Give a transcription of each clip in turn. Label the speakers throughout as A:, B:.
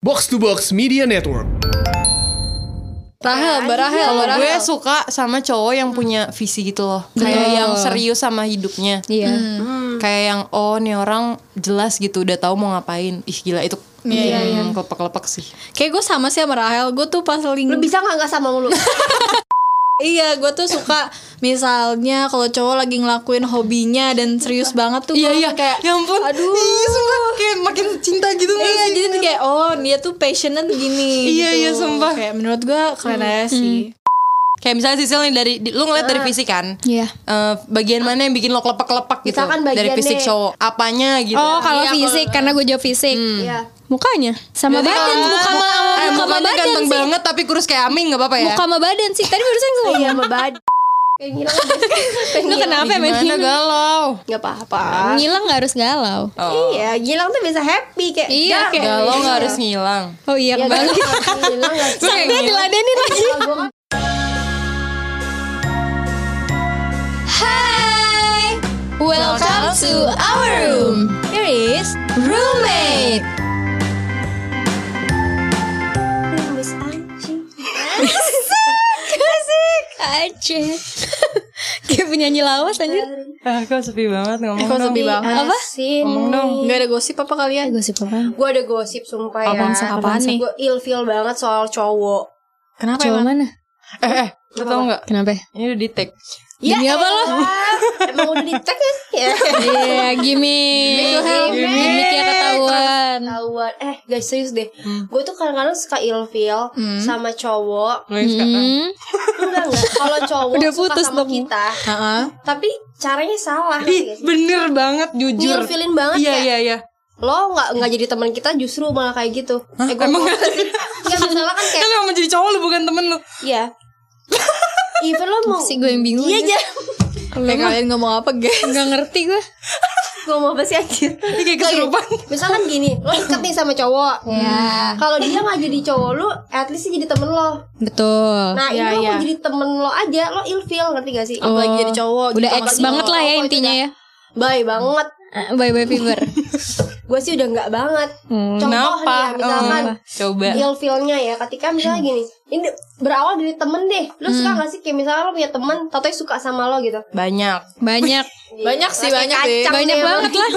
A: Box to Box Media Network.
B: Rahel, Mbak Rahel,
C: Kalau
B: Mbak Rahel.
C: gue suka sama cowok yang punya visi gitu loh Kayak
B: Betul.
C: yang serius sama hidupnya
B: Iya.
C: Kayak yang oh nih orang jelas gitu udah tahu mau ngapain Ih gila itu
B: Iya, iya.
C: hmm, kelepek-kelepek sih
B: Kayak gue sama sih sama Rahel. Gue tuh paling
D: Lu bisa nggak nggak sama mulu?
B: Hmm. Iya, gue tuh suka misalnya kalau cowok lagi ngelakuin hobinya dan serius banget tuh
C: Iya
B: gua
C: iya
B: kayak
C: Ya ampun
B: aduh.
C: Iya sumpah Kayak makin cinta gitu gak
B: Iya,
C: sih?
B: jadi tuh kayak oh dia tuh passionate gini.
C: Iya,
B: gitu.
C: iya, sumpah.
B: Kayak menurut gue keren aja sih.
C: Kayak misalnya Sisil nih dari di- Lu ngeliat dari visi kan
B: Iya.
C: Eh, Bagian mana yang bikin lo kelepek-kelepek gitu
D: Misalkan
C: Dari
D: bagiannya-
C: fisik cowok Apanya gitu
B: Oh, kalau fisik karena gue jawab fisik.
D: Iya.
B: Mukanya sama
C: Berarti
B: badan,
C: kalau
B: muka sama
C: eh,
B: muka sama
C: mukanya
B: badan
C: ganteng
B: sih.
C: banget tapi kurus kayak Aming gak apa-apa ya
B: Muka sama badan sih. Tadi barusan gue
D: Iya, sama bad. Kayak gila kan? Kayak
B: Lu
D: ngilang.
B: kenapa
C: Gimana
B: emang
C: galau Oh.
D: Nggak apa-apa.
B: Ngilang gak harus galau.
D: Iya, gilang tuh bisa happy kayak.
B: Iya,
D: dah.
B: kayak-
C: Galau gak harus ngilang
B: Oh iya,
D: Iya,
B: kembali.
D: kan? Gilang nggak sih?
C: kayak
B: Gue
C: gini.
B: diladenin lagi.
D: Kalau gua kan-
B: Hai, welcome to our room. Here is roommate. Asik, aja. Kayak penyanyi lawas anjir.
C: Ah, kok sepi banget ngomong
B: kok
C: dong.
B: sepi banget? Apa?
D: Sini.
C: Ngomong dong.
B: Gak ada gosip apa kalian? Gosip apa?
D: Gue ada gosip sumpah ya.
B: Apaan sih? Apaan nih?
D: Gue ilfeel banget soal cowok.
B: Kenapa Cowok mana?
C: Eh, eh, lu tau gak?
B: Kenapa?
C: Ini udah di tag.
B: Demi Iya, apa lo?
D: elah. Emang udah dicek ya? Ya.
B: Iya, gimmick.
D: Gimmick.
B: Gimmick ya ketahuan.
D: Ketahuan. Eh, guys serius deh.
B: Hmm.
D: Gue tuh kadang-kadang suka ilfeel sama cowok.
C: Lu yang sekarang.
B: Hmm.
D: Enggak enggak. Kalau cowok
B: Udah
D: suka
B: putus
D: sama
B: dong.
D: kita, tapi caranya salah.
C: Ih,
D: ngerti nggak sih?
C: bener banget jujur.
D: Ngilfilin banget
C: Iya,
D: kayak
C: iya, iya.
D: lo nggak nggak jadi teman kita justru malah kayak gitu. Eh, gua
C: Emang
D: mau-
C: gak sih?
D: Nggak masalah kan
C: Kan
D: kayak
C: emang jadi cowok lu bukan temen lu.
D: Iya. Even lo mau
B: Si gue yang bingung.
D: Iya aja.
B: Kayak kalian ngomong apa, guys? Gak ngerti gue.
D: Gue mau apa sih anjir?
C: Ini kayak kesurupan.
D: Misalkan gini, lo deket nih sama cowok.
B: Iya.
D: Kalau dia nggak jadi cowok lu, at least dia jadi temen lo.
B: Betul.
D: Nah,
B: Iya,
D: ini lo
B: iya.
D: mau jadi temen lo aja, lo ilfeel ngerti gak sih?
B: Oh.
D: gitu.
B: Udah ex banget lah ya intinya ya.
D: Bye banget.
B: Bye bye fever.
D: Gue sih udah nggak banget.
B: Hmm.
D: Contoh
C: Kenapa?
D: nih ya, misalkan
C: Eh, Coba.
D: ilfeelnya ya ketika misalnya gini ini berawal dari temen deh lu suka gak sih kayak misalnya lo punya temen tatoy suka sama lo gitu
C: Banyak.
B: Banyak.
D: banyak sih banyak deh
B: Banyak banget lah.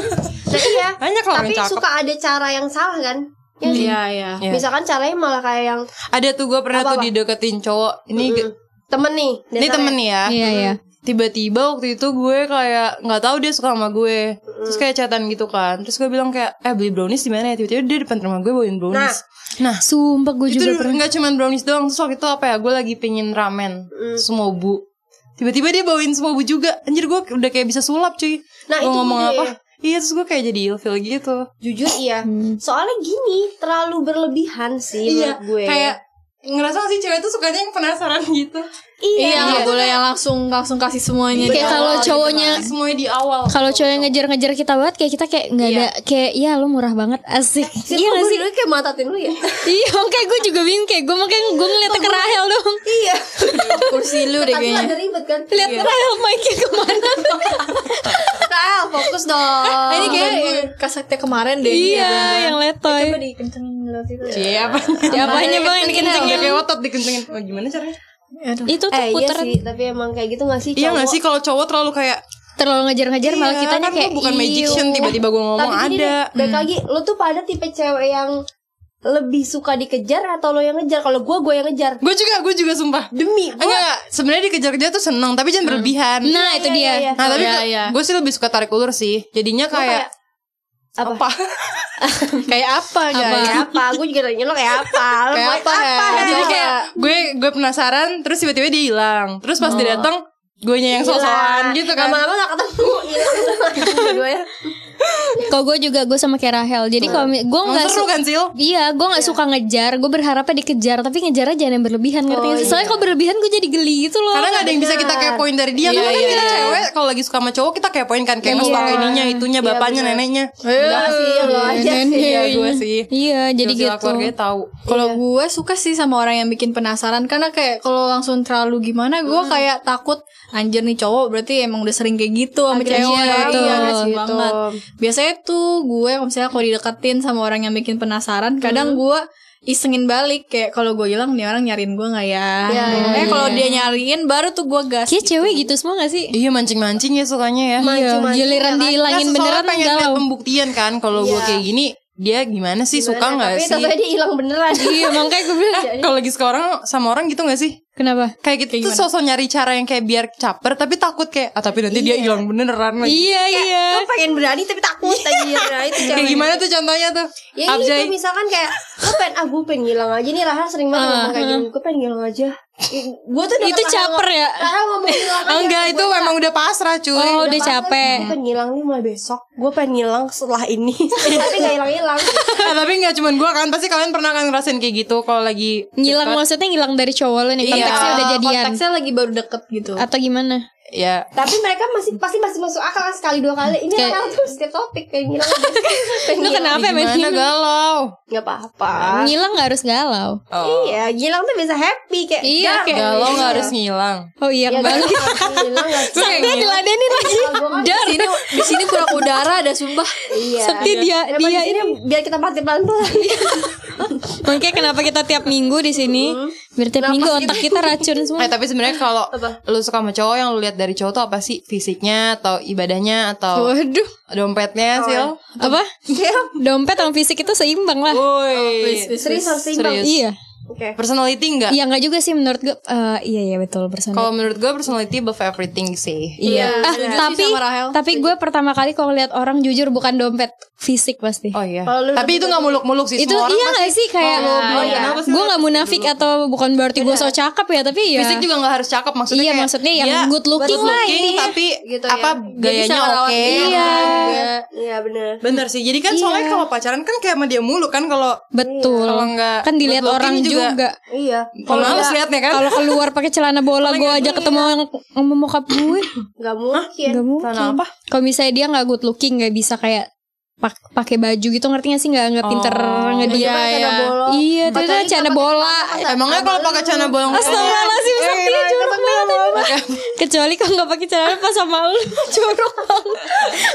D: nah, iya
C: Banyak lah orang
D: tapi
C: cakep.
D: suka ada cara yang salah kan Iya nggak sih?
B: iya.
C: Iya.
D: misalkan caranya malah kayak yang
C: Ada tuh gue pernah tuh
D: Apa-apa?
C: dideketin cowok. Ini
D: mm, temen nih
C: ini
D: dasarnya.
C: temen nih ya.
B: Iya iya.
C: tiba-tiba waktu itu gue kayak nggak tahu dia suka sama gue terus kayak chatan gitu kan terus gue bilang kayak eh beli brownies di mana ya tiba-tiba dia depan rumah gue bawain brownies nah,
B: Sumpah gue
C: itu
B: juga pernah.
C: nggak cuman brownies doang terus waktu itu apa ya gue lagi pengen ramen semobu tiba-tiba dia bawain semobu juga anjir gue udah kayak bisa sulap cuy
D: Nah,
C: Gue
D: itu
C: ngomong
D: gue.
C: apa iya terus gue kayak jadi ilfil gitu
D: jujur iya soalnya gini terlalu berlebihan sih menurut gue
C: Iya, kayak ngerasa sih cewek tuh sukanya yang penasaran gitu
D: iya,
B: nggak
D: boleh
B: yang langsung langsung kasih semuanya. Kayak kalau cowoknya
C: semuanya di awal
B: kalau cowoknya ngejar-ngejar kita banget kayak kita kayak nggak ada kayak ya lu murah banget asik.
D: Sini
B: iya
D: kok
B: gak
D: gue
B: sih?
D: dulu kayak matatin lu ya
B: iya, kayak gue juga bingung kayak gue makanya gue ngeliatnya ke Rahel dong.
D: Iya
C: kursi lu
D: Tadi ada ribet kan
B: Lihat Rahel mic-nya kemana?
D: Rahel fokus dong
B: Ini kayak
D: kasetnya kemarin deh
B: iya, yang letoy.
D: Coba dikencengin lo situ
C: Siapa?
B: Apanya bang yang dikencengin?
C: Kayak otot dikencengin. Oh, gimana caranya?
B: Itu tuh
D: Eh iya
B: puter
D: sih Tapi emang kayak gitu gak sih
C: Iya
D: cowok?
C: gak sih kalau cowok terlalu kayak
B: terlalu ngejar-ngejar malah
C: "Iya,
B: kita
C: kan
B: kayak
C: gua bukan
B: "Iu."
C: magician tiba-tiba gue ngomong
D: Tapi gini
C: ada. Hmm.
D: deh, Baik lagi Lo tuh pada tipe cewek yang Lebih suka dikejar Atau lo yang ngejar Kalau gue, gue yang ngejar
C: Gue juga, gue juga sumpah.
D: Demi
C: Enggak, enggak. sebenarnya dikejar-kejar tuh seneng tapi jangan berlebihan.
B: Nah, itu dia.
D: Iya, iya, iya.
C: Nah, tapi
B: Iya, iya.
C: gue sih lebih suka tarik ulur sih. Jadinya kayak,
D: Apa?
C: apa? kayak apa,
B: guys?
D: Kayak apa? Gue juga nanya lo kayak apa Lo
C: Kayak
D: mau
C: apa? ya? Jadi kayak gue gue penasaran terus tiba-tiba dia hilang. Terus pas
B: Oh.
C: dia datang, gue yang sosokan
D: Hilang.
C: gitu kan.
D: Lama-lama gak ketemu Hilang Dua-duanya.
B: Kalau gue juga gue sama kayak Rahel. Jadi kalau mi- gue
C: Emang
B: nggak
C: seru
B: suka
C: kan, Sil?
B: Iya, gue nggak suka ngejar. Gue berharapnya dikejar, tapi ngejar aja jangan yang berlebihan. Ngerti nggak sih? Soalnya kalau berlebihan gue jadi geli gitu loh.
C: Karena gak ada yang bisa kita kepoin dari
B: Iya,
C: dia Karena kan kita cewek kalau lagi suka sama cowok Kita kepoin kan Kayak ngestalk ininya, itunya,
B: Iya,
C: bapaknya, neneknya
D: Enggak sih Lo aja sih
C: Iya gue sih
B: Iya, jadi
C: Silsila
B: gitu.
C: keluarganya tahu
E: Kalau gue suka sih sama orang yang bikin penasaran karena kayak kalau langsung terlalu gimana gue kayak takut
B: anjir nih cowok berarti emang udah sering kayak gitu sama
D: Agresif
B: cewek
D: banget.
B: Iya, agresif
D: Gitu.
B: banget biasanya tuh gue kalau misalnya kalau dideketin sama orang yang bikin penasaran kadang gue isengin balik kayak kalau gue hilang nih orang nyariin gue nggak ya
D: Iya, iya,
B: Eh, kalau dia nyariin baru tuh gue gas
E: Kayak cewek gitu semua gak sih?
C: Iya mancing-mancing ya sukanya ya.
D: Mancing,
E: Iya,
D: mancing,
E: giliran
D: ya kan?
E: dihilangin
C: Nggak, soalnya
E: beneran
C: pengen lihat
E: galau.
C: pembuktian kan kalau gue
D: Iya.
C: kayak gini dia gimana sih suka
D: Gimana?
C: nggak
D: Tapi
C: sih?
D: ternyata dia hilang beneran.
E: Iya, makanya gue bilang
C: Kalau lagi suka orang sama orang gitu nggak sih?
E: kenapa?
C: Kayak gitu tuh sosok nyari cara yang kayak biar caper tapi takut kayak ah tapi nanti dia hilang beneran lagi.
E: Iya, iya.
D: Lo pengen berani tapi takut anjir. Nah, itu
C: Kayak
D: cewek.
C: gimana tuh contohnya tuh?
D: Ya
C: Abjay.
D: itu misalkan kayak lo pengen ah gue pengen hilang aja nih Rahel sering banget ngomong kayak gini gue pengen hilang aja. Gue tuh
E: Itu caper ya?
D: Rahel ngomong hilang aja.
C: Oh, Enggak, itu memang udah pasrah cuy.
E: Oh, udah
D: Gue
E: capek.
D: pengen hilang nih mulai besok. Gue pengen hilang setelah ini. Tapi gak hilang-hilang.
C: Eh, tapi nggak cuman gue kan pasti kalian pernah kan ngerasain kayak gitu kalau lagi
E: Ngilang maksudnya ngilang dari cowok lo nih
D: Iya.
E: konteksnya udah jadian
B: konteksnya lagi baru deket gitu
E: atau gimana?
C: ya
D: Tapi mereka masih pasti masih masuk akal kan sekali dua kali. Ini
E: Kayak-
D: Rahel tuh setiap topik pengen hilang. aja. pengen
E: Lu
D: hilang.
E: kenapa emang
C: gimana galau
D: Gak apa-apa.
E: Ngilang gak harus galau.
D: Iya, hilang tuh bisa happy kayak.
E: Iya,
D: "Dah,
E: kayak-
C: galau nggak harus ngilang
E: Oh iya,
D: Ya,
E: kembali.
D: hilang gak sih?
E: Sampai diladenin lagi.
D: Gua kan
B: di sini di sini kurang udara ada sumpah
D: Iya.
E: Sedih dia,
D: Daripada
E: dia Iya,
D: di sini biar kita mati pelan-pelan.
E: Makanya kenapa kita tiap minggu di sini? Biar tiap minggu otak kita racun semua.
C: eh tapi sebenarnya kalau lu suka sama cowok yang lu lihat dari cowok tuh apa sih fisiknya atau ibadahnya atau
E: Waduh,
B: Oh, iya.
C: dompetnya sih lo
E: apa? Dompet sama fisik itu seimbang lah.
C: Oh, woi
D: Serius harus seimbang.
C: serius
E: Iya.
D: Oke.
C: personality enggak
E: Iya enggak juga sih menurut gue. Eh, iya iya betul personal.
C: kalau menurut gue personality above everything sih
E: Iya. Ah,
B: setuju sih
E: tapi
B: sama Rahel.
E: tapi gue pertama kali kalau lihat orang jujur bukan dompet, fisik pasti.
C: oh iya
D: Kalau lu-
C: tapi itu nggak muluk-muluk sih
E: itu
C: semua orang
E: iya
C: pasti-
E: gak sih kayak
C: Kalau lu bilang,
E: iya.
C: kenapa sih
E: gue nggak munafik atau bukan berarti gue so cakep ya tapi ya
C: fisik juga nggak harus cakep maksudnya
E: Iya,
C: kayak
E: maksudnya yang
C: dia
E: good looking lah
C: looking,
E: intinya.
C: tapi
B: Gitu ya.
C: apa
B: Dia bisa
C: gayanya oke
B: ngerawat diri
E: Iya.
B: juga.
D: Iya benar.
C: Bener sih. Jadi kan soalnya kalau pacaran kan kayak sama dia mulu kan kalau
E: betul
C: Kalau nggak
E: kan dilihat
C: good
E: orang
C: looking juga.
E: juga,
D: Iya.
C: kalau harus liatnya kan.
E: kalau keluar pakai celana bola gue aja ketemu yang sama bokap gue
D: Gak mungkin.
E: nggak mungkin
C: celana apa?
E: kalau misalnya dia nggak good looking nggak bisa kayak pak- pakai baju gitu ngerti gak sih nggak nggak pinter
D: Iya,
E: ngedia
D: iya.
E: iya itu
D: Makanya
E: celana
D: dia pakai
E: bola
C: Emangnya kalau pakai celana bolong
E: Astagfirullahaladzim
C: Eh,
E: Sakti
C: Rai,
E: jorok banget Kecuali kalau gak pakai celana pas sama lu Jorok banget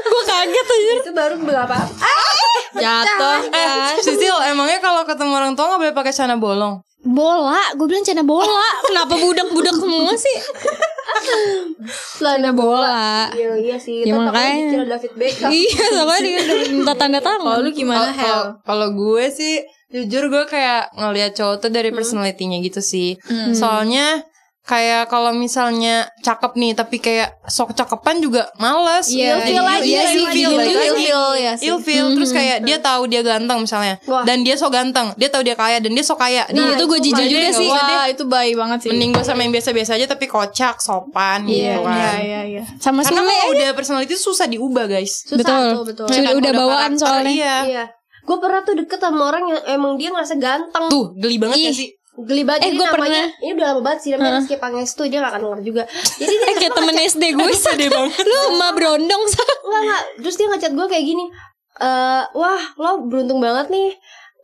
E: Gue kaget aja
D: Itu baru Ah! berapa?
E: Ah!
B: jatuh kan
C: Sisil, Ah, emangnya kalau ketemu orang tua nggak boleh pakai celana bolong?
E: Bola Gue bilang celana bola Kenapa budak-budak semua sih
D: Celana
E: Bola
D: Iya iya sih.
E: Ya,
D: Tetap aja
E: makanya.
D: dikira David Beckham.
E: Iya soalnya dia udah minta tanda
B: kalau
E: tangan
B: lu gimana Hel
C: Kalau- Kalau gue sih jujur gue kayak ngelihat cowok tuh dari personality-nya gitu sih. Soalnya kayak kalau misalnya cakep nih tapi kayak sok cakepan juga males.
E: Iya,
C: Jadi
E: feel
C: ill-
E: lagi,
C: iya,
E: feel
C: ill feel
E: lagi.
C: balik
B: Ill
C: lagi.
B: feel, ya sih.
C: Ill feel, terus kayak dia tahu dia ganteng misalnya
D: Wah.
C: dan dia sok ganteng, dia tahu dia kaya dan dia sok kaya.
E: Nah,
C: Dia-
E: itu gue jijik
C: makanya
E: juga
C: nggak
E: sih.
C: usah deh.
B: wah itu baik banget sih
C: Mending gue sama yang biasa-biasa aja tapi kocak, sopan gitu kan.
B: iya iya iya
E: Sama
C: Karena
E: Sule
C: kalau udah personality itu susah diubah guys.
B: susah
E: Betul
B: tuh, betul.
E: Sudah
C: Kan
E: udah bawaan
C: karakter,
E: soalnya
C: Iya.
D: Iya. Gue pernah tuh deket sama orang yang emang dia ngerasa ganteng.
C: Tuh, geli banget ya
E: Ih.
C: sih.
D: Geli banget.
E: Eh,
D: Jadi
E: gua
D: namanya,
E: pernah.
D: Ini udah lama banget sih. Namanya Rizky Pangestu. Dia gak akan denger juga. Jadi dia
E: Eh kayak temen SD gue Sak. Lu emak berondong Sak.
D: Enggak, enggak. Terus dia ngechat gue kayak gini. Eh, wah, lo beruntung banget nih.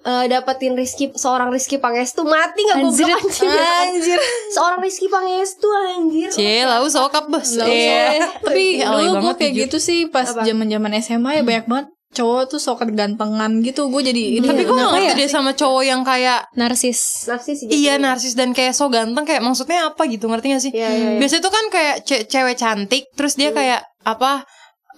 D: eh, dapetin Rizky seorang Rizky Pangestu mati nggak
E: Anjir.
D: goblok anjir. seorang Rizky Pangestu anjir
C: Cie, lau sokap bos.
B: Eh,
C: Iya.
B: tapi
C: Ya, alay
B: dulu gue
C: banget,
B: kayak
C: jujur.
B: gitu sih pas zaman zaman SMA ya banyak banget cowok tuh sok gantengan gitu gue jadi itu
C: Tapi gue gak
B: ya?
C: ngerti deh sama cowok yang kayak
E: Narsis
D: narsis sih gitu.
C: Iya narsis dan kayak so ganteng kayak maksudnya apa gitu ngerti gak sih?
D: Iya, iya, iya.
C: Biasanya tuh kan kayak ce- cewek cantik terus dia kayak apa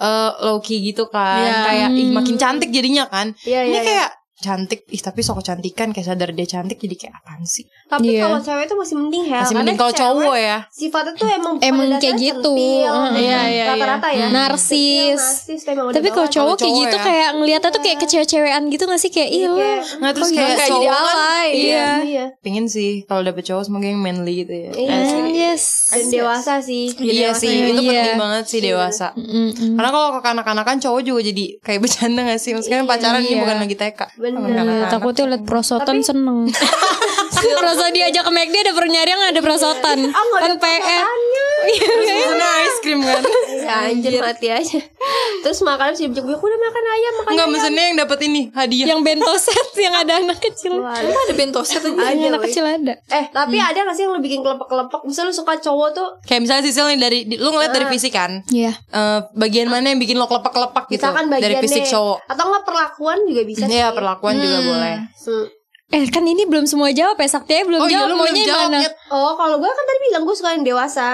C: eh low key gitu kan
B: Iya.
C: kayak ih makin cantik jadinya kan.
D: Iya,
C: Ini
D: iya, iya.
C: kayak cantik ih tapi sok kecantikan kayak sadar dia cantik jadi kayak apaan sih?
D: tapi
E: Iya.
D: kalau cewek itu masih mending ya
C: Masih
D: karena
C: mending kalau
D: cewek
C: cowok ya.
D: sifatnya tuh emang pada
E: Emang
D: dasarnya
E: kayak gitu.
D: centil,
E: Mm,
B: iya, iya, iya.
D: rata-rata ya
E: Narsis
D: narsis tuh emang udah
E: Tapi kalau
D: bawaan.
E: cowok kayak
C: cowok
E: gitu
C: ya.
E: Kayak ngeliatnya tuh kayak kecewa-cewean gitu gak sih Kayak iya
D: kayak-
C: Nggak Nah, terus kayak,
B: kayak jadi
C: cowok kan
B: alay
D: iya iya
C: pengen sih kalau dapet cowok semoga yang manly gitu ya.
D: Iya.
C: Asik.
E: Yes
D: dan dewasa gitu. sih
C: Iya sih, itu
E: Iya. Mm,
C: penting banget sih dewasa.
E: Mm-mm.
C: Karena kalau ke kanak-kanakan cowok juga jadi kayak bercanda gak sih? Maksudnya kan pacaran ini
E: Iya.
C: bukan lagi TK.
D: Bener.
C: Sama kanak-kanak.
E: takutnya liat
C: kan.
E: prosotan seneng Perasa diajak ke McD ada pernyari yang ada prosotan
D: Ah,
C: Iya. Oh,
D: nggak
E: Kan Iya,
D: ada
E: PR
D: pernyariannya.
C: Terus pesennya ice cream kan
D: Ya anjir mati aja Terus makan si bijak gue udah makan ayam makan
C: Enggak
D: ayam
C: mesennya yang dapat ini hadiah
E: yang bento set yang ada anak kecil.
D: Waduh.
B: Ada bento set aja.
D: Ada,
E: Yang anak
D: woy.
E: kecil ada.
D: Eh tapi
C: Hmm.
D: ada gak sih yang lu bikin kelepek-kelepek Misalnya lu suka cowok tuh
C: Kayak misalnya Sisil nih dari di- Lu ngeliat dari fisik kan
E: Iya.
C: Eh, Bagian mana yang bikin lo kelepak-kelepak gitu
D: Misalkan bagiannya
C: Dari fisik cowok
D: Atau enggak perlakuan juga bisa sih
C: Iya perlakuan juga boleh
D: Hmm.
E: Eh kan ini belum semua jawab ya Sakti belum
C: Oh iya
E: jawab
C: lu belum
E: maunya yang
C: jawab
E: mana?
C: Nyet.
D: Oh kalau gue kan tadi bilang gue suka yang dewasa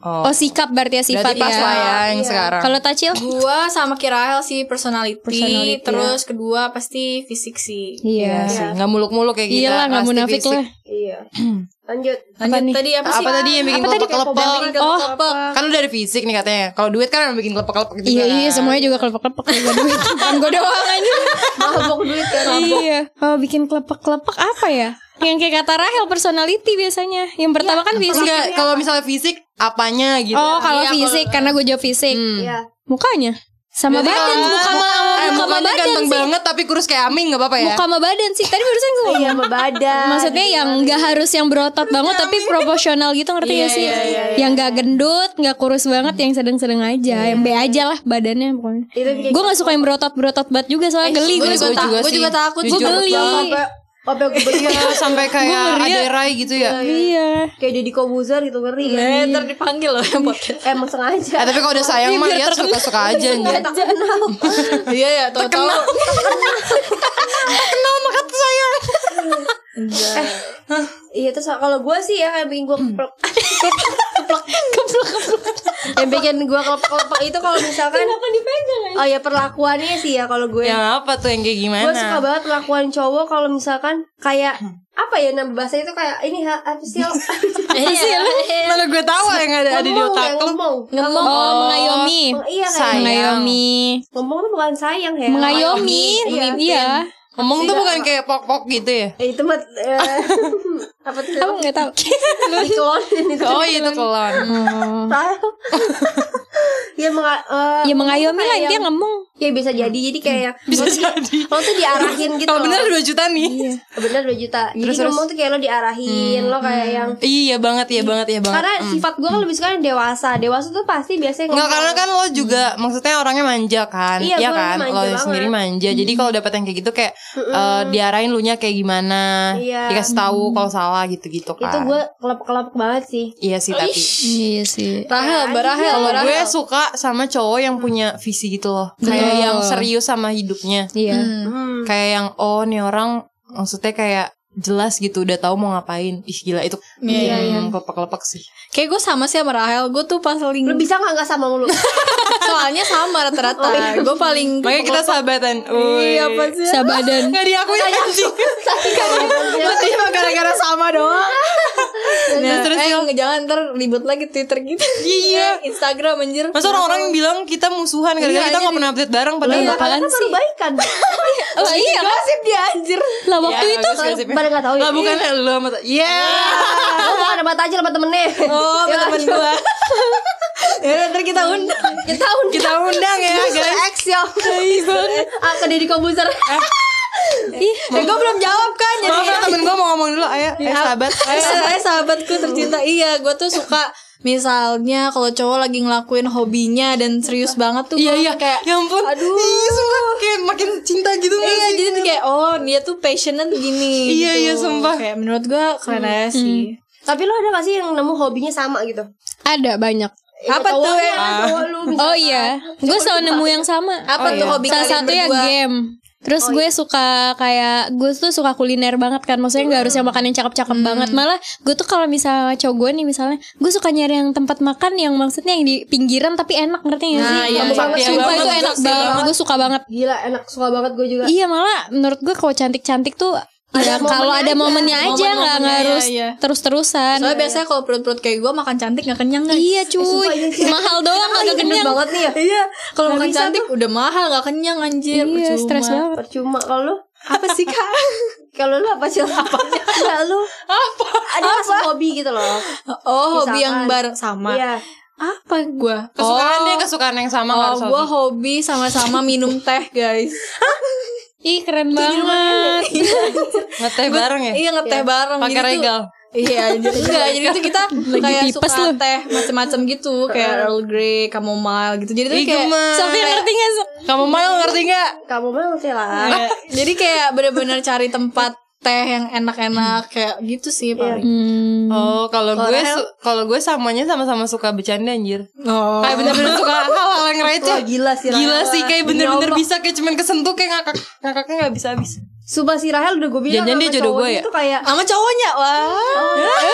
C: Oh,
E: Oh sikap berarti ya sifat
C: Berarti pas lah
E: ya.
C: ya yang
D: Iya.
C: sekarang
E: Kalau tacil?
B: Gua sama Kirahel sih personality, ya.
E: Personality,
B: terus kedua pasti fisik sih.
C: Iya
E: Iya.
C: sih Gak muluk-muluk kayak kita
E: Iyalah nggak
C: pasti
E: munafik
C: fisik.
E: lah.
D: Iya Lanjut
B: Lanjut
E: nih?
B: tadi apa sih?
C: Apa tadi yang bikin
E: Apa tadi?
C: kelepek-kelepek
B: Yang bikin
E: Oh,
B: kelepek.
C: Kan lu dari fisik nih katanya Kalau duit kan yang bikin kelepek-kelepek juga
E: Iya
C: kan.
E: iya semuanya juga kelepek-kelepek juga duit. Bukan gue doang aja.
D: Mabok duit kan
E: Iya. Oh bikin kelepek-kelepek apa ya? Yang kayak kata Rahel personality biasanya. Yang pertama kan fisik.
C: Enggak Kalau misalnya fisik Apanya Iya, gitu
E: Oh kalau
C: Iya, Hmm.
E: fisik karena gue jawab fisik.
D: Iya
E: Mukanya sama
C: Berarti
E: badan,
C: kalau-
E: muka
C: eh,
E: sama muka sama
C: mukanya
E: badan
C: ganteng
E: sih.
C: banget tapi kurus kayak Aming nggak apa-apa ya?
E: Muka sama badan sih. Tadi barusan gue
D: Iya sama badan
E: Maksudnya yang nggak harus yang berotot banget tapi proporsional gitu ngerti
C: Iya,
E: gak sih?
C: iya, iya, Iya.
E: Yang nggak gendut, nggak kurus banget, yang sedang-sedang aja, yang B aja lah badannya pokoknya.
D: Itu bikin
E: Gue nggak suka yang berotot-berotot banget Eh, juga soalnya geli
B: Gue
E: gue.
B: juga,
C: Gua
B: ta-
C: juga
B: gua
C: sih.
B: juga takut Iya,
E: Gue
C: Jujur.
B: juga.
E: geli.
D: Sampai Sampai gue
C: Iya, sampai kayak
E: Gua ngeri ya.
C: ada rai gitu ya.
E: Iya.
D: Kayak jadi kobuzer gitu ngeri kan
B: Eh, ntar dipanggil loh yang podcast.
D: Emang sengaja
C: Eh, tapi kalau
E: Iya,
C: udah sayang mah ya suka-suka aja gitu. anjir.
D: Tak kenal
B: Iya ya, tahu-tahu.
D: Iya terus kalau gue sih ya yang bikin gue keplek keplek keplek yang bikin gue kelepek kelepek itu kalau misalkan
E: Iya.
D: oh ya perlakuannya sih ya kalau gue
C: Yang Iya, apa tuh yang kayak gimana?
D: gue suka banget perlakuan cowok kalau misalkan kayak apa ya nama bahasa itu kayak ini ha- apa sih lo
E: Iya.
C: Mana gue tahu yang ada ada di
D: Ngomong,
C: otak
D: kayak
C: lu.
D: ngomong
E: Oh, mengayomi.
D: iya kayak
C: Sayang.
E: Mengayomi.
D: ngomong tuh bukan sayang ya
E: Mengayomi.
D: iya
E: Iya.
C: Ngomong tuh bukan kayak pok-pok gitu ya.
D: Eh, itu mah eh, apa tuh
E: Kamu nggak tahu?
D: dikeluarin itu kan
C: Oh, iya itu kelon.
E: Oh.
D: Tahu. ya menga- eh,
E: Ya mengayomi lah
D: kayak
E: dia
D: yang-
E: ngomong.
D: ya bisa jadi jadi kayak
C: Hmm. Bisa
D: lo tuh di-
C: jadi.
D: lo tuh diarahin gitu
C: Kalau
D: loh.
C: bener 2 juta
E: Iya.
C: nih.
D: bener 2 juta jadi
C: Terus, terus. Hmm.
D: ngomong tuh kayak lo diarahin lo kayak yang
C: Iya banget, iya banget, iya banget.
D: karena sifat gue kan lebih suka yang dewasa dewasa tuh pasti biasanya
C: Enggak karena kan lo juga maksudnya orangnya manja kan,
D: Hmm. Iya,
C: Iya
D: gua
C: kan,
D: orangnya
C: lo
D: manja banget. Hmm.
C: sendiri manja. Jadi kalau dapat yang kayak gitu kayak eh, diarahin lu nya kayak gimana,
D: Iya.
C: dikasih tahu kalau salah gitu-gitu kan.
D: itu gue kelap kelap banget sih
C: Iya sih tapi
E: Iya sih.
B: Rahel, Barahel,
C: kalau
B: Barahel.
C: gue suka sama cowok yang
D: Hmm.
C: punya visi gitu loh, kayak
E: Betul.
C: yang serius sama hidupnya,
E: Iya.
D: hmm.
C: kayak yang oh nih orang maksudnya kayak jelas gitu udah tahu mau ngapain. Ih gila itu
B: Iya,
C: kelepek-kelepek sih.
B: Kayak gue sama sih sama Rahel. Gue tuh paling
D: lo bisa nggak nggak sama lu
B: soalnya sama rata-rata. Gue paling
C: Oh, iya. Makanya kita sahabatan.
B: Iya, apa sih?
E: Sabadan.
C: Gak diakui anjing.
D: kan
C: Berarti cuma gara-gara sama doang.
B: Nah,
C: terus
B: eh, nggak, jangan ntar ribut lagi Twitter gitu.
C: Iya.
B: Instagram anjir.
C: Masa orang-orang yang bilang kita musuhan
B: Iya,
C: gara-gara kita gak
B: jadi-
C: pernah update bareng padahal
E: Iya.
C: bakal
E: Apaan
D: kan baru
E: sih?
D: baikan
E: Oh iya.
B: Gosip dia anjir.
E: Lah waktu
C: Iya,
E: itu
C: bagus gosipnya.
D: Pada nggak tahu ya.
C: Lah bukan lu sama Iya.
D: Gue bukan debat aja sama temennya
C: Oh, sama temen gua.
B: Ya, ntar kita undang.
D: Kita undang
C: Kita undang ya, guys.
D: X ya Ah, ke Deddy Kombuser
B: Eh, gue belum jawab kan jadi.
C: Maaf ya temen gue mau ngomong dulu Ayo, ayo sahabat
B: Eh, eh, sahabatku tercinta iya gue tuh suka misalnya kalau cowok lagi ngelakuin hobinya dan serius banget tuh
C: Iya
B: gua
C: iya
B: kayak
C: Ya ampun
B: Aduh.
C: Iya sumpah Kayak makin cinta gitu gak
B: iya
C: sih?
B: jadi tuh kayak oh dia tuh passionate gini
C: Iya,
B: gitu.
C: iya, sumpah. Hmm.
B: kayak menurut gue keren aja sih
D: Tapi lo ada gak sih yang nemu hobinya sama gitu?
E: ada banyak.
D: Ya,
B: Apa
D: cowok
B: tuh
D: lu
B: ya?
D: kan, cowok lu bisa-
E: Oh iya, gue selalu nemu yang sama.
B: apa
C: Oh,
B: tuh
C: iya.
B: hobi
E: Salah
B: kalian
E: satu ya
B: berdua? Oh, iya.
E: game. Terus gue suka kayak gue tuh suka kuliner banget kan, maksudnya nggak harus
B: Hmm.
E: yang makan yang cakep-cakep banget. Malah gue tuh kalau misalnya cowok gue nih misalnya, gue suka nyari yang tempat makan yang maksudnya yang di pinggiran tapi enak ngerti gak sih?
B: Nah, iya,
E: Sumpah,
B: iya,
E: sumpah
C: iya,
E: itu
C: banget,
E: enak
C: iya,
E: banget,
C: banget.
E: gue suka banget.
D: Gila enak suka banget gue juga
E: Iya malah menurut gue kalau cantik-cantik tuh ya kalau ada momennya aja
B: Momen-momennya,
E: nggak harus
B: iya, iya.
E: terus-terusan.
B: soalnya biasanya kalau perut-perut kayak gue makan cantik gak kenyang guys. Eh,
E: Iya cuy, mahal doang agak kenyang.
D: banget nih ya
B: iya kalau makan
D: bisa
B: cantik udah mahal gak kenyang anjir
E: Iya,
B: percuma.
E: stres banget.
D: Percuma kalau lu
B: apa sih kak
D: Kalau lu apa sih? Apa? Enggak lu
B: apa
D: Ada gak sih hobi gitu loh
B: oh hobi
D: Misalkan.
B: yang bareng sama
D: Iya
B: apa gue
C: Kesukaan dia kesukaan yang sama
B: Oh,
C: harus hobi.
B: gue hobi sama-sama minum teh, guys.
E: Ih keren banget.
C: Ngeteh ya? bareng ya
B: Iya ngeteh bareng.
C: Pakai
B: Jadi tuh
C: regal
B: Iya, jadi enggak. Jadi itu kita
E: Lagi
B: kayak
E: pipes
B: suka
E: lu.
B: teh macam-macam gitu, kayak Earl Grey, chamomile gitu. Jadi tuh
C: Ih,
B: kayak
C: gemes.
E: Sofia ngerti gak Sof?
C: Kamu malu ngerti gak?
D: Kamu banget sih lah.
B: Iya. jadi kayak bener-bener cari tempat teh yang enak-enak kayak gitu sih paling.
E: Hmm.
C: Oh, kalau gue su- kalau gue samanya sama-sama suka bercanda anjir.
B: Oh.
C: Kayak bener-bener suka hal-hal yang receh.
D: Wah, gila sih, Rahel.
C: Gila sih kayak
D: Demi
C: bener-bener
D: Allah.
C: bisa kayak cuman kesentuh kayak ngakak ngakaknya nggak bisa habis.
D: Sumpah si Rahel udah gue bilang
C: Jangan-jangan dia
D: sama
C: jodoh gue
D: cowoknya
C: ya?
D: tuh kayak
B: Sama cowoknya wah.
D: oh,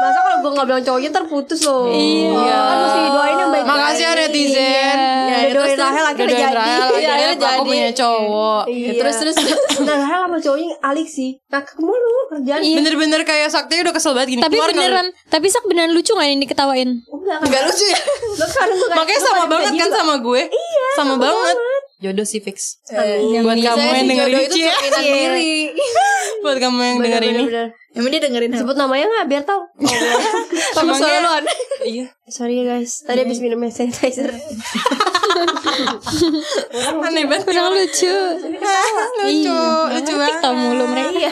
D: Masa kalau gue gak bilang cowoknya ntar putus loh Iya Kan mesti doain yang baik-baik
C: Makasih ya netizen.
D: Iya. Udah doain Rahel akhirnya
C: Doain
D: jadi
C: Rahel,
B: Iya,
C: akhirnya
B: akhirnya
C: aku
B: jadi.
C: punya cowok.
D: Iya.
B: Terus terus
D: Nah Rahel sama cowoknya alik sih Nah kamu lu kerjaan
C: Iya. Bener-bener kayak sakti udah kesel banget gini.
E: Tapi
C: "Keluar, keluar."
E: beneran, tapi sak beneran lucu gak ini diketawain?
D: Enggak kan
B: enggak lucu ya.
D: Lo kan gue kayak-
C: Makanya
D: lo
C: sama
D: kayak
C: banget
D: kayak
C: kan
D: gitu.
C: sama gue. Iya. Sama banget. Jodoh sih fix. Buat kamu
B: Saya sih
C: yang dengerin
B: jodoh
C: ini,
B: itu
C: Cie. Iya.
B: cerminan diri.
D: Iya,
C: Buat kamu yang denger ini.
D: Bener-bener.
B: Emang dia dengerin apa?
D: Sebut namanya gak biar tau oh,
B: Sama
C: Emangnya-
B: suara lu aneh.
C: Iya.
D: Sorry ya guys Tadi habis minum hand sanitizer
C: Aneh banget.
E: Kurang lucu.
C: Lucu, lucu banget.
E: Kita
C: Nah,
E: mulu mereka.
D: Iya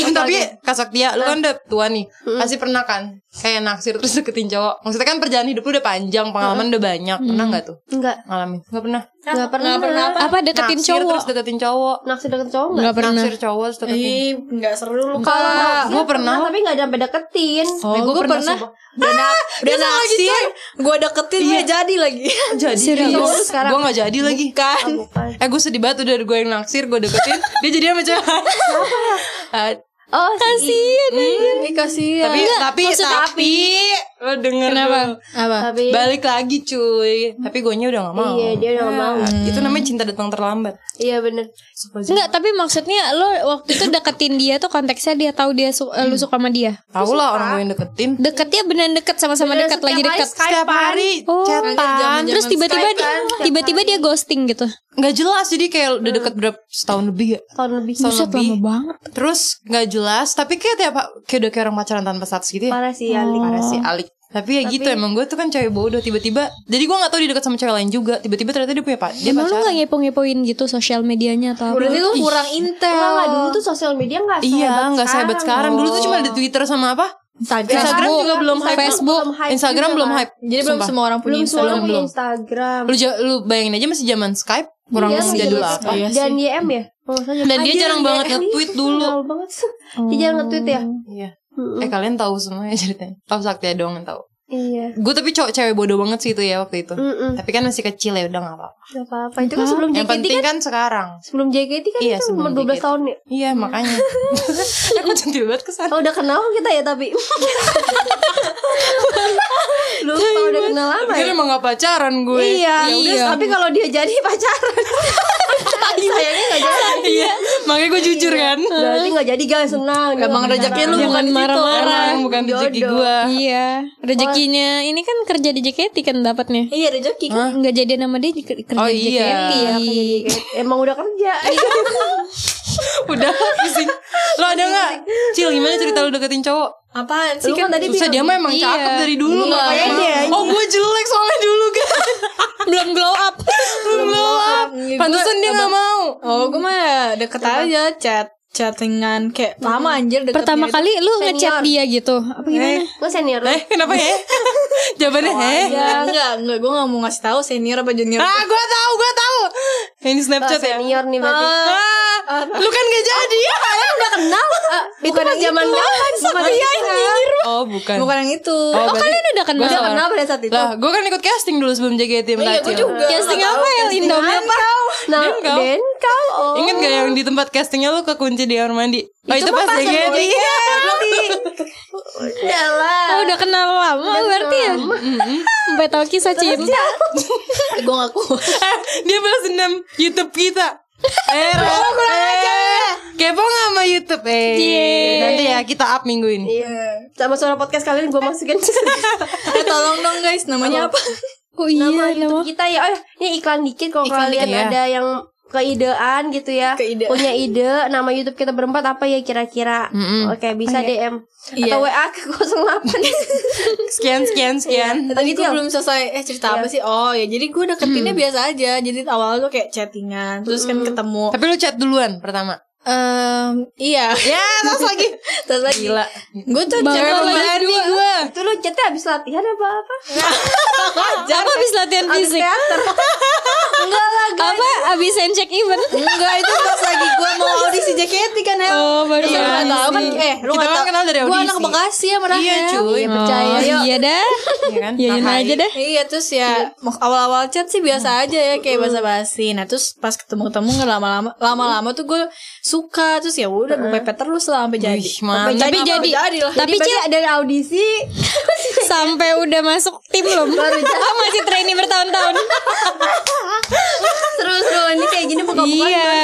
C: Eh, tapi Kak Saktia, lu kan udah tua nih Pasti pernah kan Kayak naksir terus deketin cowok Maksudnya kan perjalanan hidup lu udah panjang Pengalaman udah banyak Pernah nggak tuh?
D: Enggak
C: Ngalamin? Gak pernah
D: Enggak pernah Enggak pernah
E: Apa deketin
C: Naksir
E: cowok?
C: terus deketin cowok
D: Naksir deket cowok enggak
E: Gak pernah.
C: Naksir cowok terus deketin
D: Iya.
B: Ih, enggak seru lu
C: Kalau
B: Kak.
C: gue pernah
D: Tapi gak sampai deketin Eh,
B: Oh, gue pernah udah, na udah naksir, gue deketin dia jadi lagi.
C: Jadi
D: Serius?
C: sekarang Gue gak jadi lagi Kan
D: bukan.
C: Eh gue sedih banget udah gue yang naksir Gue deketin Dia jadi sama cewek Ah,
D: Oh Kasian
B: Ih, kasihan.
C: Tapi Tapi Tapi Lo denger
E: Kenapa?
C: dulu.
B: Apa?
D: Tapi
C: Balik lagi cuy Tapi guanya udah gak mau
D: Iya dia udah gak mau
C: Itu namanya cinta datang terlambat
D: Iya bener
E: Enggak, tapi maksudnya lo waktu itu deketin dia tuh konteksnya dia tahu dia su- eh, lu suka sama dia.
C: Tahu lah orang gue yang deketin.
E: Deketnya beneran deket sama-sama deket lagi deket.
C: Setiap hari kan.
E: Oh.
C: chatan.
E: Terus tiba-tiba dia, tiba-tiba dia ghosting gitu.
C: nggak jelas jadi kayak udah deket berapa setahun lebih ya.
D: Tahun lebih
C: Setahun lebih.
E: banget.
C: Terus nggak jelas tapi kayak tiap kayak udah kayak orang pacaran tanpa status gitu ya.
D: Parah sih Alik
C: Parah sih Alik. Tapi ya gitu emang gue tuh kan cewek bodoh tiba-tiba. Jadi gue nggak tahu dia deket sama cewek lain juga. Tiba-tiba ternyata dia punya pak. Dia
E: Emang lu
C: pacaran.
E: gak Nah, ngepo-ngepoin gitu sosial medianya atau apa?
B: Berarti lu kurang intel.
D: Enggak lah dulu tuh sosial media gak
C: Iya nggak sehebat sekarang. Dulu tuh cuma ada Twitter sama apa?
B: Instagram.
C: Instagram
E: Facebook.
C: juga belum hype.
E: Facebook.
D: Belum hype
C: Instagram
D: juga,
C: belum
D: kan?
C: hype.
B: Jadi belum
C: Sumpah.
B: semua orang punya
D: Belum semua
B: Instagram.
D: orang punya
C: belum.
D: Instagram
C: Lu, ja- lu bayangin aja masih zaman Skype kurang
D: Iya, masih
C: sejadul
D: zaman
C: apa
B: Iya
D: Dan
B: sih.
D: YM ya Oh, saya
C: dan dia
D: Anjir,
C: jarang
D: YM.
C: banget nge-tweet dulu
D: Jarang iya, banget Dia jarang nge-tweet ya
B: Hmm.
C: Iya.
D: Mm-mm.
C: Eh kalian tahu semuanya ceritanya. Tahu Saktia doang yang tahu.
D: Iya
C: Gue tapi cowok cewek bodoh banget sih itu ya waktu itu.
D: Mm-mm.
C: Tapi kan masih kecil ya udah gak apa-apa.
D: Gak apa-apa Itu kan sebelum
C: Yang
D: JKT
C: penting
D: kan
C: kan sekarang.
D: Sebelum JKT kan
C: Iya,
D: itu
C: sebelum
D: umur 12
C: JKT.
D: tahun ya
C: Iya makanya. Aku centil banget kesan.
D: Oh udah kenal kita ya tapi Lupa udah kenal lama
C: Kan
D: ya
C: emang gak pacaran gue. ya
D: Iya, tapi kalau dia jadi pacaran Sayangnya gak jadi
C: Iya. Makanya gue jujur
D: Iya.
C: kan.
D: Berarti gak jadi guys, senang
B: Emang rezeki lu bukan
E: Jangan
B: di situ.
E: marah-marah.
C: Emang bukan rezeki
D: iya, Jodoh.
C: gue.
E: Iya, rezekinya ini kan kerja di JKT kan dapatnya.
D: Eh,
B: Iya rezeki.
E: Enggak jadi nama dia di- kerja
C: Oh,
E: di JKT.
C: iya.
D: ya. Emang udah kerja
C: Udah pusing. Lo ada gak? Cil gimana cerita lu deketin cowok?
B: Apaan sih
D: Lu kan
B: kan?
D: tadi
C: Susah dia mah emang cakep dari dulu
D: Iya,
C: makanya.
D: makanya.
C: Oh gue jelek soalnya dulu kan.
E: Belum glow up.
C: Belum up.
B: Iya,
C: Pantesan
B: gue-
C: dia gak mau.
B: Oh gue mah deket aja chat chattingan kayak lama anjir deket
E: Pertama kali lu ngechat dia gitu. Apa gimana?
D: Gue senior lu
C: Eh kenapa ya? Jawabannya eh.
B: Ya enggak, enggak gue gak mau ngasih tahu senior apa junior.
C: Ah, gue tahu, gue tahu. Ini Snapchat ya.
D: Senior nih berarti
C: Ah, lu kan gak jadi.
D: Udah kenal ah. Bukan yang zaman
B: Iya,
D: kapan Bukan yang
C: Oh, bukan.
B: Bukan yang itu.
C: Oh,
E: Oh,
C: berarti-
E: kalian udah kenal.
D: Udah kenal pada saat itu
C: Lah, gue kan ikut casting dulu sebelum JKT sama
B: Iya, gue
C: Kacil.
B: juga.
E: Casting apa ya Indomie apa?
D: Nah,
C: Dia engkau.
D: dan kau oh
C: Ingat ya? gak yang di tempat castingnya lu kekunci di kamar mandi? Oh, itu, pas JKT. Iya.
D: Udah lah
E: Oh, udah kenal lama berarti ya. Sampai tahu kisah cinta.
B: Gue gak kuat.
C: Eh, Dia balas dendam YouTube kita. Eh, Rara, eh, kepo gak sama YouTube? Eh,
E: Yeay.
C: nanti ya kita up minggu ini.
D: Iya Sama suara podcast kalian gue masukin
B: Eh, tolong dong guys, namanya apa?
E: Oh iya,
D: Nama
E: nama.
D: YouTube kita ya Oh ini iklan dikit Kalau
C: Iklan
D: kalian
C: dikit, ya.
D: ada yang keidean gitu ya
B: Keide.
D: punya ide nama YouTube kita berempat apa ya kira-kira
C: Mm-mm. Oh,
D: oke bisa DM
B: Iya.
D: atau WA ke 08
C: Sekian, sekian, sekian.
B: Tadi gue belum selesai Eh cerita apa sih Oh ya jadi gue deketinnya biasa aja Jadi awal tuh kayak chattingan Terus kan ketemu
C: Tapi lu chat duluan pertama.
B: Em, iya.
C: Ya, terus lagi.
B: Terus lagi.
C: Gila.
B: Gue tuh
E: Bawa
B: cewek
E: lagi
B: pemberani
E: dua.
B: gue.
D: Itu lu chatnya habis latihan apa apa?
E: Apa abis latihan
D: Habis
E: fisik?
D: teater. Enggak lah, guys.
E: Apa abis hand check event?
C: Enggak,
B: Nah,
C: itu pas lagi gue mau audisi JKT kan, Hel.
E: Oh, baru
B: Iya,
E: audisi.
B: tahu kan eh lu
C: Kita
B: nggak
C: kan
B: tahu.
C: kenal dari
B: Gue
C: audisi.
B: anak Bekasi ya merah.
C: Iya, cuy.
B: Iya, percaya.
E: Oh,
B: Yuk.
E: iya dah.
C: Iya kan?
E: Yain
C: Nah,
E: aja deh.
B: Iya terus ya mak- awal-awal chat sih biasa aja ya kayak basa-basi. Nah terus pas ketemu-ketemu nggak lama-lama lama-lama tuh gue suka terus ya udah gue pepet terus lah sampai jadi.
C: Wih, mantap.
E: Tapi jadi,
B: lah.
E: tapi
D: Jadi
E: Cil,
D: dari audisi
E: sampai udah masuk tim belum? Oh, masih trainee bertahun-tahun.
D: seru-seru ini kayak gini buka bukaan
E: iya.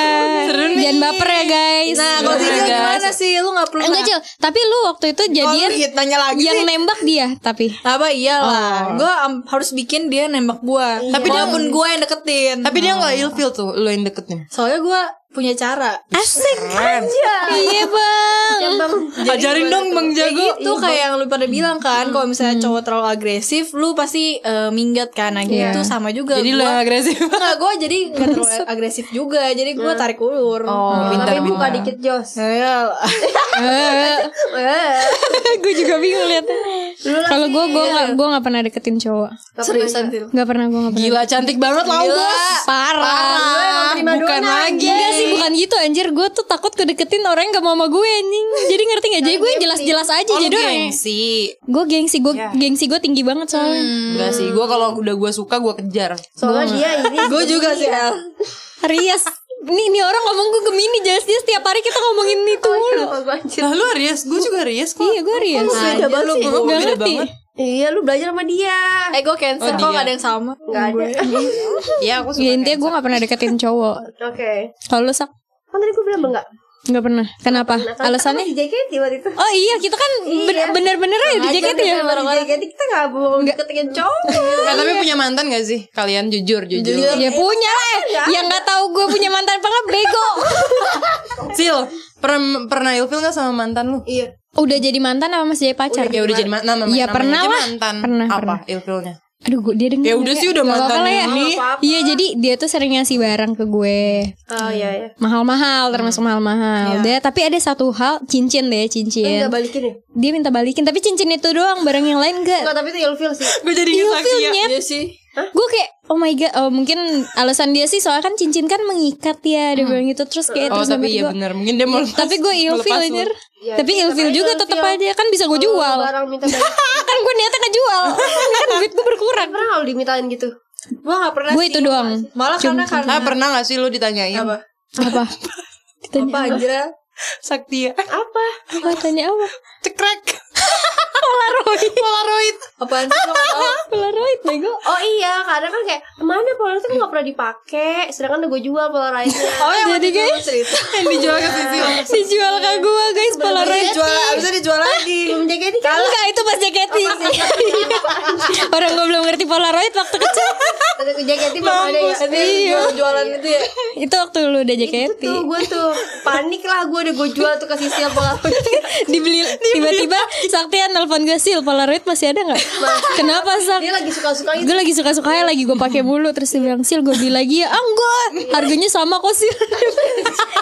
E: Jangan baper ya, guys.
B: Nah kalau
C: Iya,
B: Cil
C: guys.
B: gimana sih lu nggak perlu
E: Enggak, Cil. Tapi lu waktu itu
B: Jadian
E: jadian
B: nanya gitu lagi
E: yang
B: sih.
E: nembak dia tapi
B: apa iyalah gue harus bikin dia nembak gue tapi
C: dia-
B: walaupun gue yang deketin
C: Tapi dia gak ilfeel tuh, lu yang deketin.
B: soalnya gue punya cara
E: asik
C: Keren.
E: iya bang
C: Ajarin dong Bang Jago.
B: Iya, itu kayak gitu, yang lu pada bilang kan kalau misalnya cowok terlalu agresif lu pasti eh, minggat kan nah gitu sama juga
C: Jadi lu
B: gua,
C: yang agresif.
B: nggak gue jadi nggak terlalu agresif juga jadi gue tarik ulur Iya.
C: Oh, pintar,
D: Tapi buka
C: pintar.
D: dikit Jos. Eh.
E: gue Eh, juga bingung lihat kalau gue gue nggak gue nggak pernah deketin cowok
B: seriusan Til.
E: nggak pernah gue nggak pernah
C: Gila, cantik banget lah, bos.
E: parah
C: Bukan lagi.
E: Enggak sih bukan gitu anjir Gue tuh takut kedeketin orang yang gak mau sama gue anjing Jadi ngerti gak? Jadi gue yang jelas-jelas aja
C: Oh, lu
E: Jadi orang
C: gengsi.
E: Gue gengsi Gue gengsi gue tinggi banget soalnya
C: Enggak sih, gue kalau udah gue suka gue kejar.
D: Soalnya dia ini
B: gue juga sih El
E: Rias Nih, nih orang ngomong gue Gemini jelas dia setiap hari kita ngomongin itu mulu
D: Kenapa gua anjir?
C: Lah lu Aries, gue juga Aries kok.
E: Oh, Iya gue Rias
C: Oh,
D: Beda banget
C: lu
D: sih.
C: gue
E: Gak
C: beda
E: ngerti
C: banget.
D: Iya, lu belajar sama dia.
B: eh gue cancer
C: Oh,
B: kok
C: dia.
B: gak ada yang sama
D: Enggak ada.
C: Iya, aku suka.
E: Ya intinya gue gak pernah deketin cowok
D: Oke.
E: Kalau lu sak
D: Kan tadi gue bilang enggak.
E: Gak pernah Kenapa? Alasannya?
D: di JKT waktu itu.
E: Oh iya kita kan ben- bener-bener aja di JKT ya
D: Di JKT kita enggak mau deketin cowok.
C: Eh, tapi punya mantan gak sih? Kalian jujur, jujur.
E: Ya punya lah Yang gak tahu gue punya mantan apa nggak, bego
C: Sil, pernah pernah ilfil gak sama mantan lu?
D: Iya.
E: Udah jadi mantan apa masih jadi pacar?
C: Ya udah jadi ma- nama namanya
E: Iya, pernah
C: aja
E: lah.
C: mantan.
E: Pernah,
C: Apa
E: pernah.
C: ilfilnya?
E: Aduh gue dia denger
C: Ya udah sih, udah
E: Gak
C: mantan
E: apa-apa lah ya.
C: ini.
E: Iya jadi dia tuh sering ngasih barang ke gue
D: Oh iya iya.
C: Hmm.
E: Mahal-mahal termasuk
C: Iya.
E: mahal-mahal Dia- Tapi ada satu hal cincin deh cincin
D: Enggak balikin ya?
E: Dia minta balikin tapi cincin itu doang barang yang lain gak
D: Enggak, tapi itu ilfil sih.
C: Gue jadi ingat saksi ya.
E: Ilfilnya
B: Iya sih
E: Gue kayak oh my god oh, Mungkin alasan dia sih soalnya kan cincin kan mengikat ya Dia bilang gitu terus kayak
C: Oh
E: terus
C: tapi
E: menurut
C: iya
E: gua,
C: bener Mungkin dia mau lepas
E: Tapi gue
C: mau lepas
E: ilfil
C: lu. Iya,
E: anjir
D: Ya,
E: Tapi
D: tetep
E: ilfil
D: aja
E: juga
D: ilfil.
E: tetap aja Kan bisa gue jual
D: Barang minta balik.
E: Kan gue niatnya ngejual Kan duit gue berkurang
D: Pernah nggak lu dimintain gitu?
B: gue gak pernah
E: Gue
B: sih.
E: itu doang
B: malah karena karena
C: Ah pernah gak sih lu ditanyain
B: apa
E: Apa?
B: apa anjir El?
C: Saktia
D: Apa?
E: Apa Oh, tanya apa?
C: Ah, Cekrek Polaroid Polaroid
B: apaan sih lo nggak tahu?
E: Polaroid bego
D: Oh iya, kadang kan kayak mana polaroid itu kan nggak pernah dipakai, sedangkan udah gue jual polaroidnya.
C: iya.
B: Oh, yang jadi guys cerita.
C: Yang dijual ke Sisil
E: Dijual ke gua guys Polaroid
B: Dijual, abisnya dijual lagi.
D: Belum JKT kan?
E: Enggak itu pas JKT Orang gua belum ngerti Polaroid waktu kecil
D: Ada ke JKT belum ada ya. gitu
B: Iya, jualan itu ya.
E: Itu waktu lu udah JKT
D: Tuh gue tuh panik lah gue udah gue jual tuh ke sisi polaroid.
E: Dibeli Tiba-tiba Saktian nelfon gue Sil Polaroid masih ada gak? Kenapa Sak?
D: Dia lagi suka-suka gitu.
E: Gue lagi suka-suka ya lagi gue pakai mulu Terus dia bilang Sil gue beli lagi ya Ah enggak Harganya sama kok Sil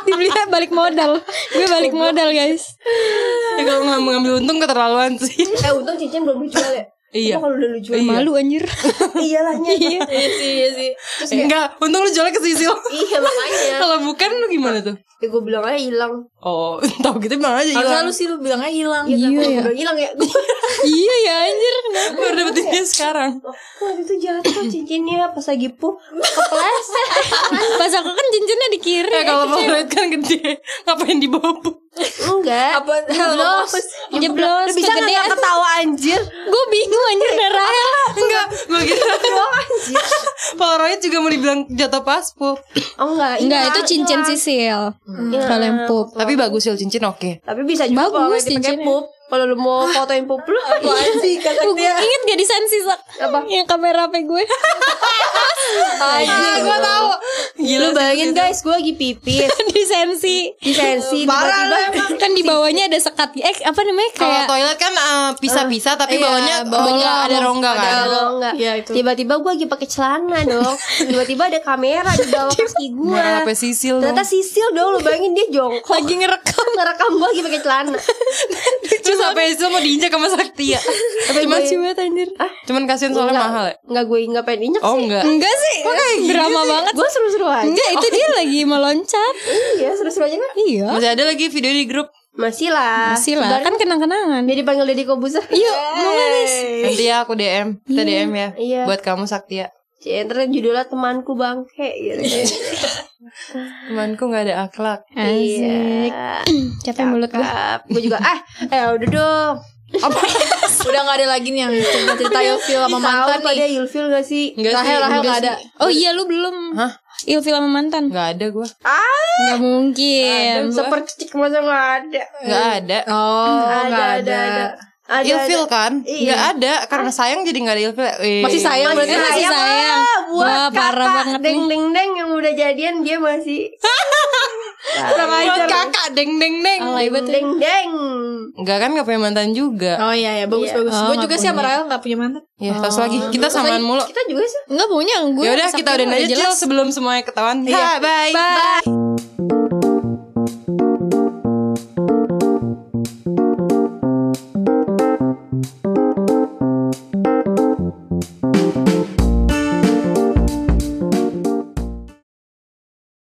E: Dibeli ya, balik modal Gue balik modal guys
C: Ya kalau gak mengambil untung keterlaluan sih
D: Eh untung cincin belum lu jual ya.
C: Iya.
D: Cuma kalau udah lu jual
E: Malu anjir
D: Iyalahnya. Iya sih, iya sih. Terus kayak
C: Enggak Untung lu jualnya ke Sisil
D: iya makanya.
C: Kalau bukan lu gimana tuh?
D: Ya gue bilang aja hilang.
C: Oh tau gitu bilang aja
B: Harusnya lu
C: hilang
B: sih lu bilangnya hilang.
D: Iya,
E: Iya ya.
D: Udah hilang ya. Gue
E: Iya ya anjir
C: Baru dapetin dia sekarang
D: waktu itu jatuh cincinnya pas lagi pup kepleset.
E: Pas aku kan cincinnya di kiri
C: Ya kalau Polaroid kan gede Ngapain dibawa
D: Enggak.
B: Apa
D: Jeblos.
E: Jeblos,
D: Bisa nggak
E: kegedean.
D: nggak ketawa anjir?
E: Gue bingung anjir ya. darahnya
C: Enggak Gue kira Polaroid juga mau dibilang jatuh paspor
D: Oh enggak.
E: Enggak
D: hilang,
E: itu cincin
D: hilang.
E: sisil
D: Iya.
E: Kalau yang pup
C: Tapi bagus sih cincin oke
D: Tapi bisa juga
E: Bagus
D: kalau nggak dipakai
E: cincinnya.
D: pup. Kalau lu mau fotoin pup lu
B: Apaan sih kata
C: Iya.
E: Tuh,
B: dia?
E: inget gak desain sisil Apa? Yang kamera HP gue
C: Anjir gue Ah, tahu. Gila
D: Iya, Lu bayangin guys, gue lagi pipis
E: di sensi
D: di sensi
C: Parah lu
D: tiba-tiba.
E: kan di bawahnya ada sekat eh apa namanya
C: Kalau
E: kayak
C: toilet kan eh, pisah-pisah tapi
B: Iya,
C: bawahnya
B: bawahnya
C: bawahnya ada rongga kan.
B: ada
D: Kalau enggak,
B: Iya, itu.
D: tiba-tiba gue lagi pakai celana dong. Tiba-tiba ada kamera di bawah kaki gue.
C: Merah Nah, apa sisil dong.
D: Ternyata sisil dong, lu bayangin dia jongkok.
E: lagi ngerekam
D: Ngerekam gue lagi pakai celana.
C: Terus apa sisil mau diinjak sama Sakti ya? Cuman
D: gue-
C: banget anjir. Cuman kasihan soalnya
D: Enggak,
C: mahal ya.
D: Enggak gue enggak pengen injek
C: Oh enggak.
E: enggak sih drama banget
D: Gue seru-seru aja.
E: enggak itu dia lagi meloncat
D: Iya, seru-seru aja kan?
E: iya
C: Masih ada lagi video di grup.
D: Masih lah.
E: masih lah kan
C: Iya.
E: kenang-kenangan
D: Dia dipanggil Deddy Kobuzer.
E: yuk mau guys
C: Nanti ya aku DM, kita DM ya.
D: Iya.
C: Buat kamu Sakti ya.
D: Center judulnya temanku bangke gitu.
C: Temanku nggak ada akhlak.
D: Iya.
E: asik capek mulut gue
D: gue juga ah eh udah dong.
B: Udah gak ada lagi nih yang cerita-cerita Yofil sama
D: Iya, Ih,
B: mantan
D: tahu pada
B: nih.
D: Yulfil gak sih?
C: Enggak
B: Rahel,
C: sih,
B: Rahel
C: enggak
B: gak ada.
C: sih.
E: oh iya lu belum
C: Hah?
E: ilfil sama mantan
C: Nggak ada gue.
E: nggak mungkin
D: Sepercik masa gak ada.
C: Nggak ada.
B: Oh, gak ada.
D: Ada,
C: Ilfil
D: ada.
C: kan?
D: Iya.
C: Nggak ada karena sayang jadi nggak ada ilfil. Eh,
B: Masih sayang
D: Masih
B: berarti
E: Masih
D: sayang,
E: sayang.
D: ah, buat
E: Wah,
D: kakak
E: parah banget nih.
D: deng deng deng yang udah jadian dia masih kurang
C: Buat
D: ajar
C: kakak deng deng deng.
E: Alay
D: deng
E: banget
D: deng deng
C: Enggak kan nggak punya mantan juga.
B: Oh iya ya bagus bagus. Gue
E: Oh, nggak
B: juga sih sama Rahel gak punya mantan.
C: Ya terus lagi kita samaan mulu.
D: kita juga sih
E: Enggak punya gue
D: Iya.
C: Ya udah kita udahin aja Cil sebelum semuanya ketahuan. Ya bye.
E: Bye.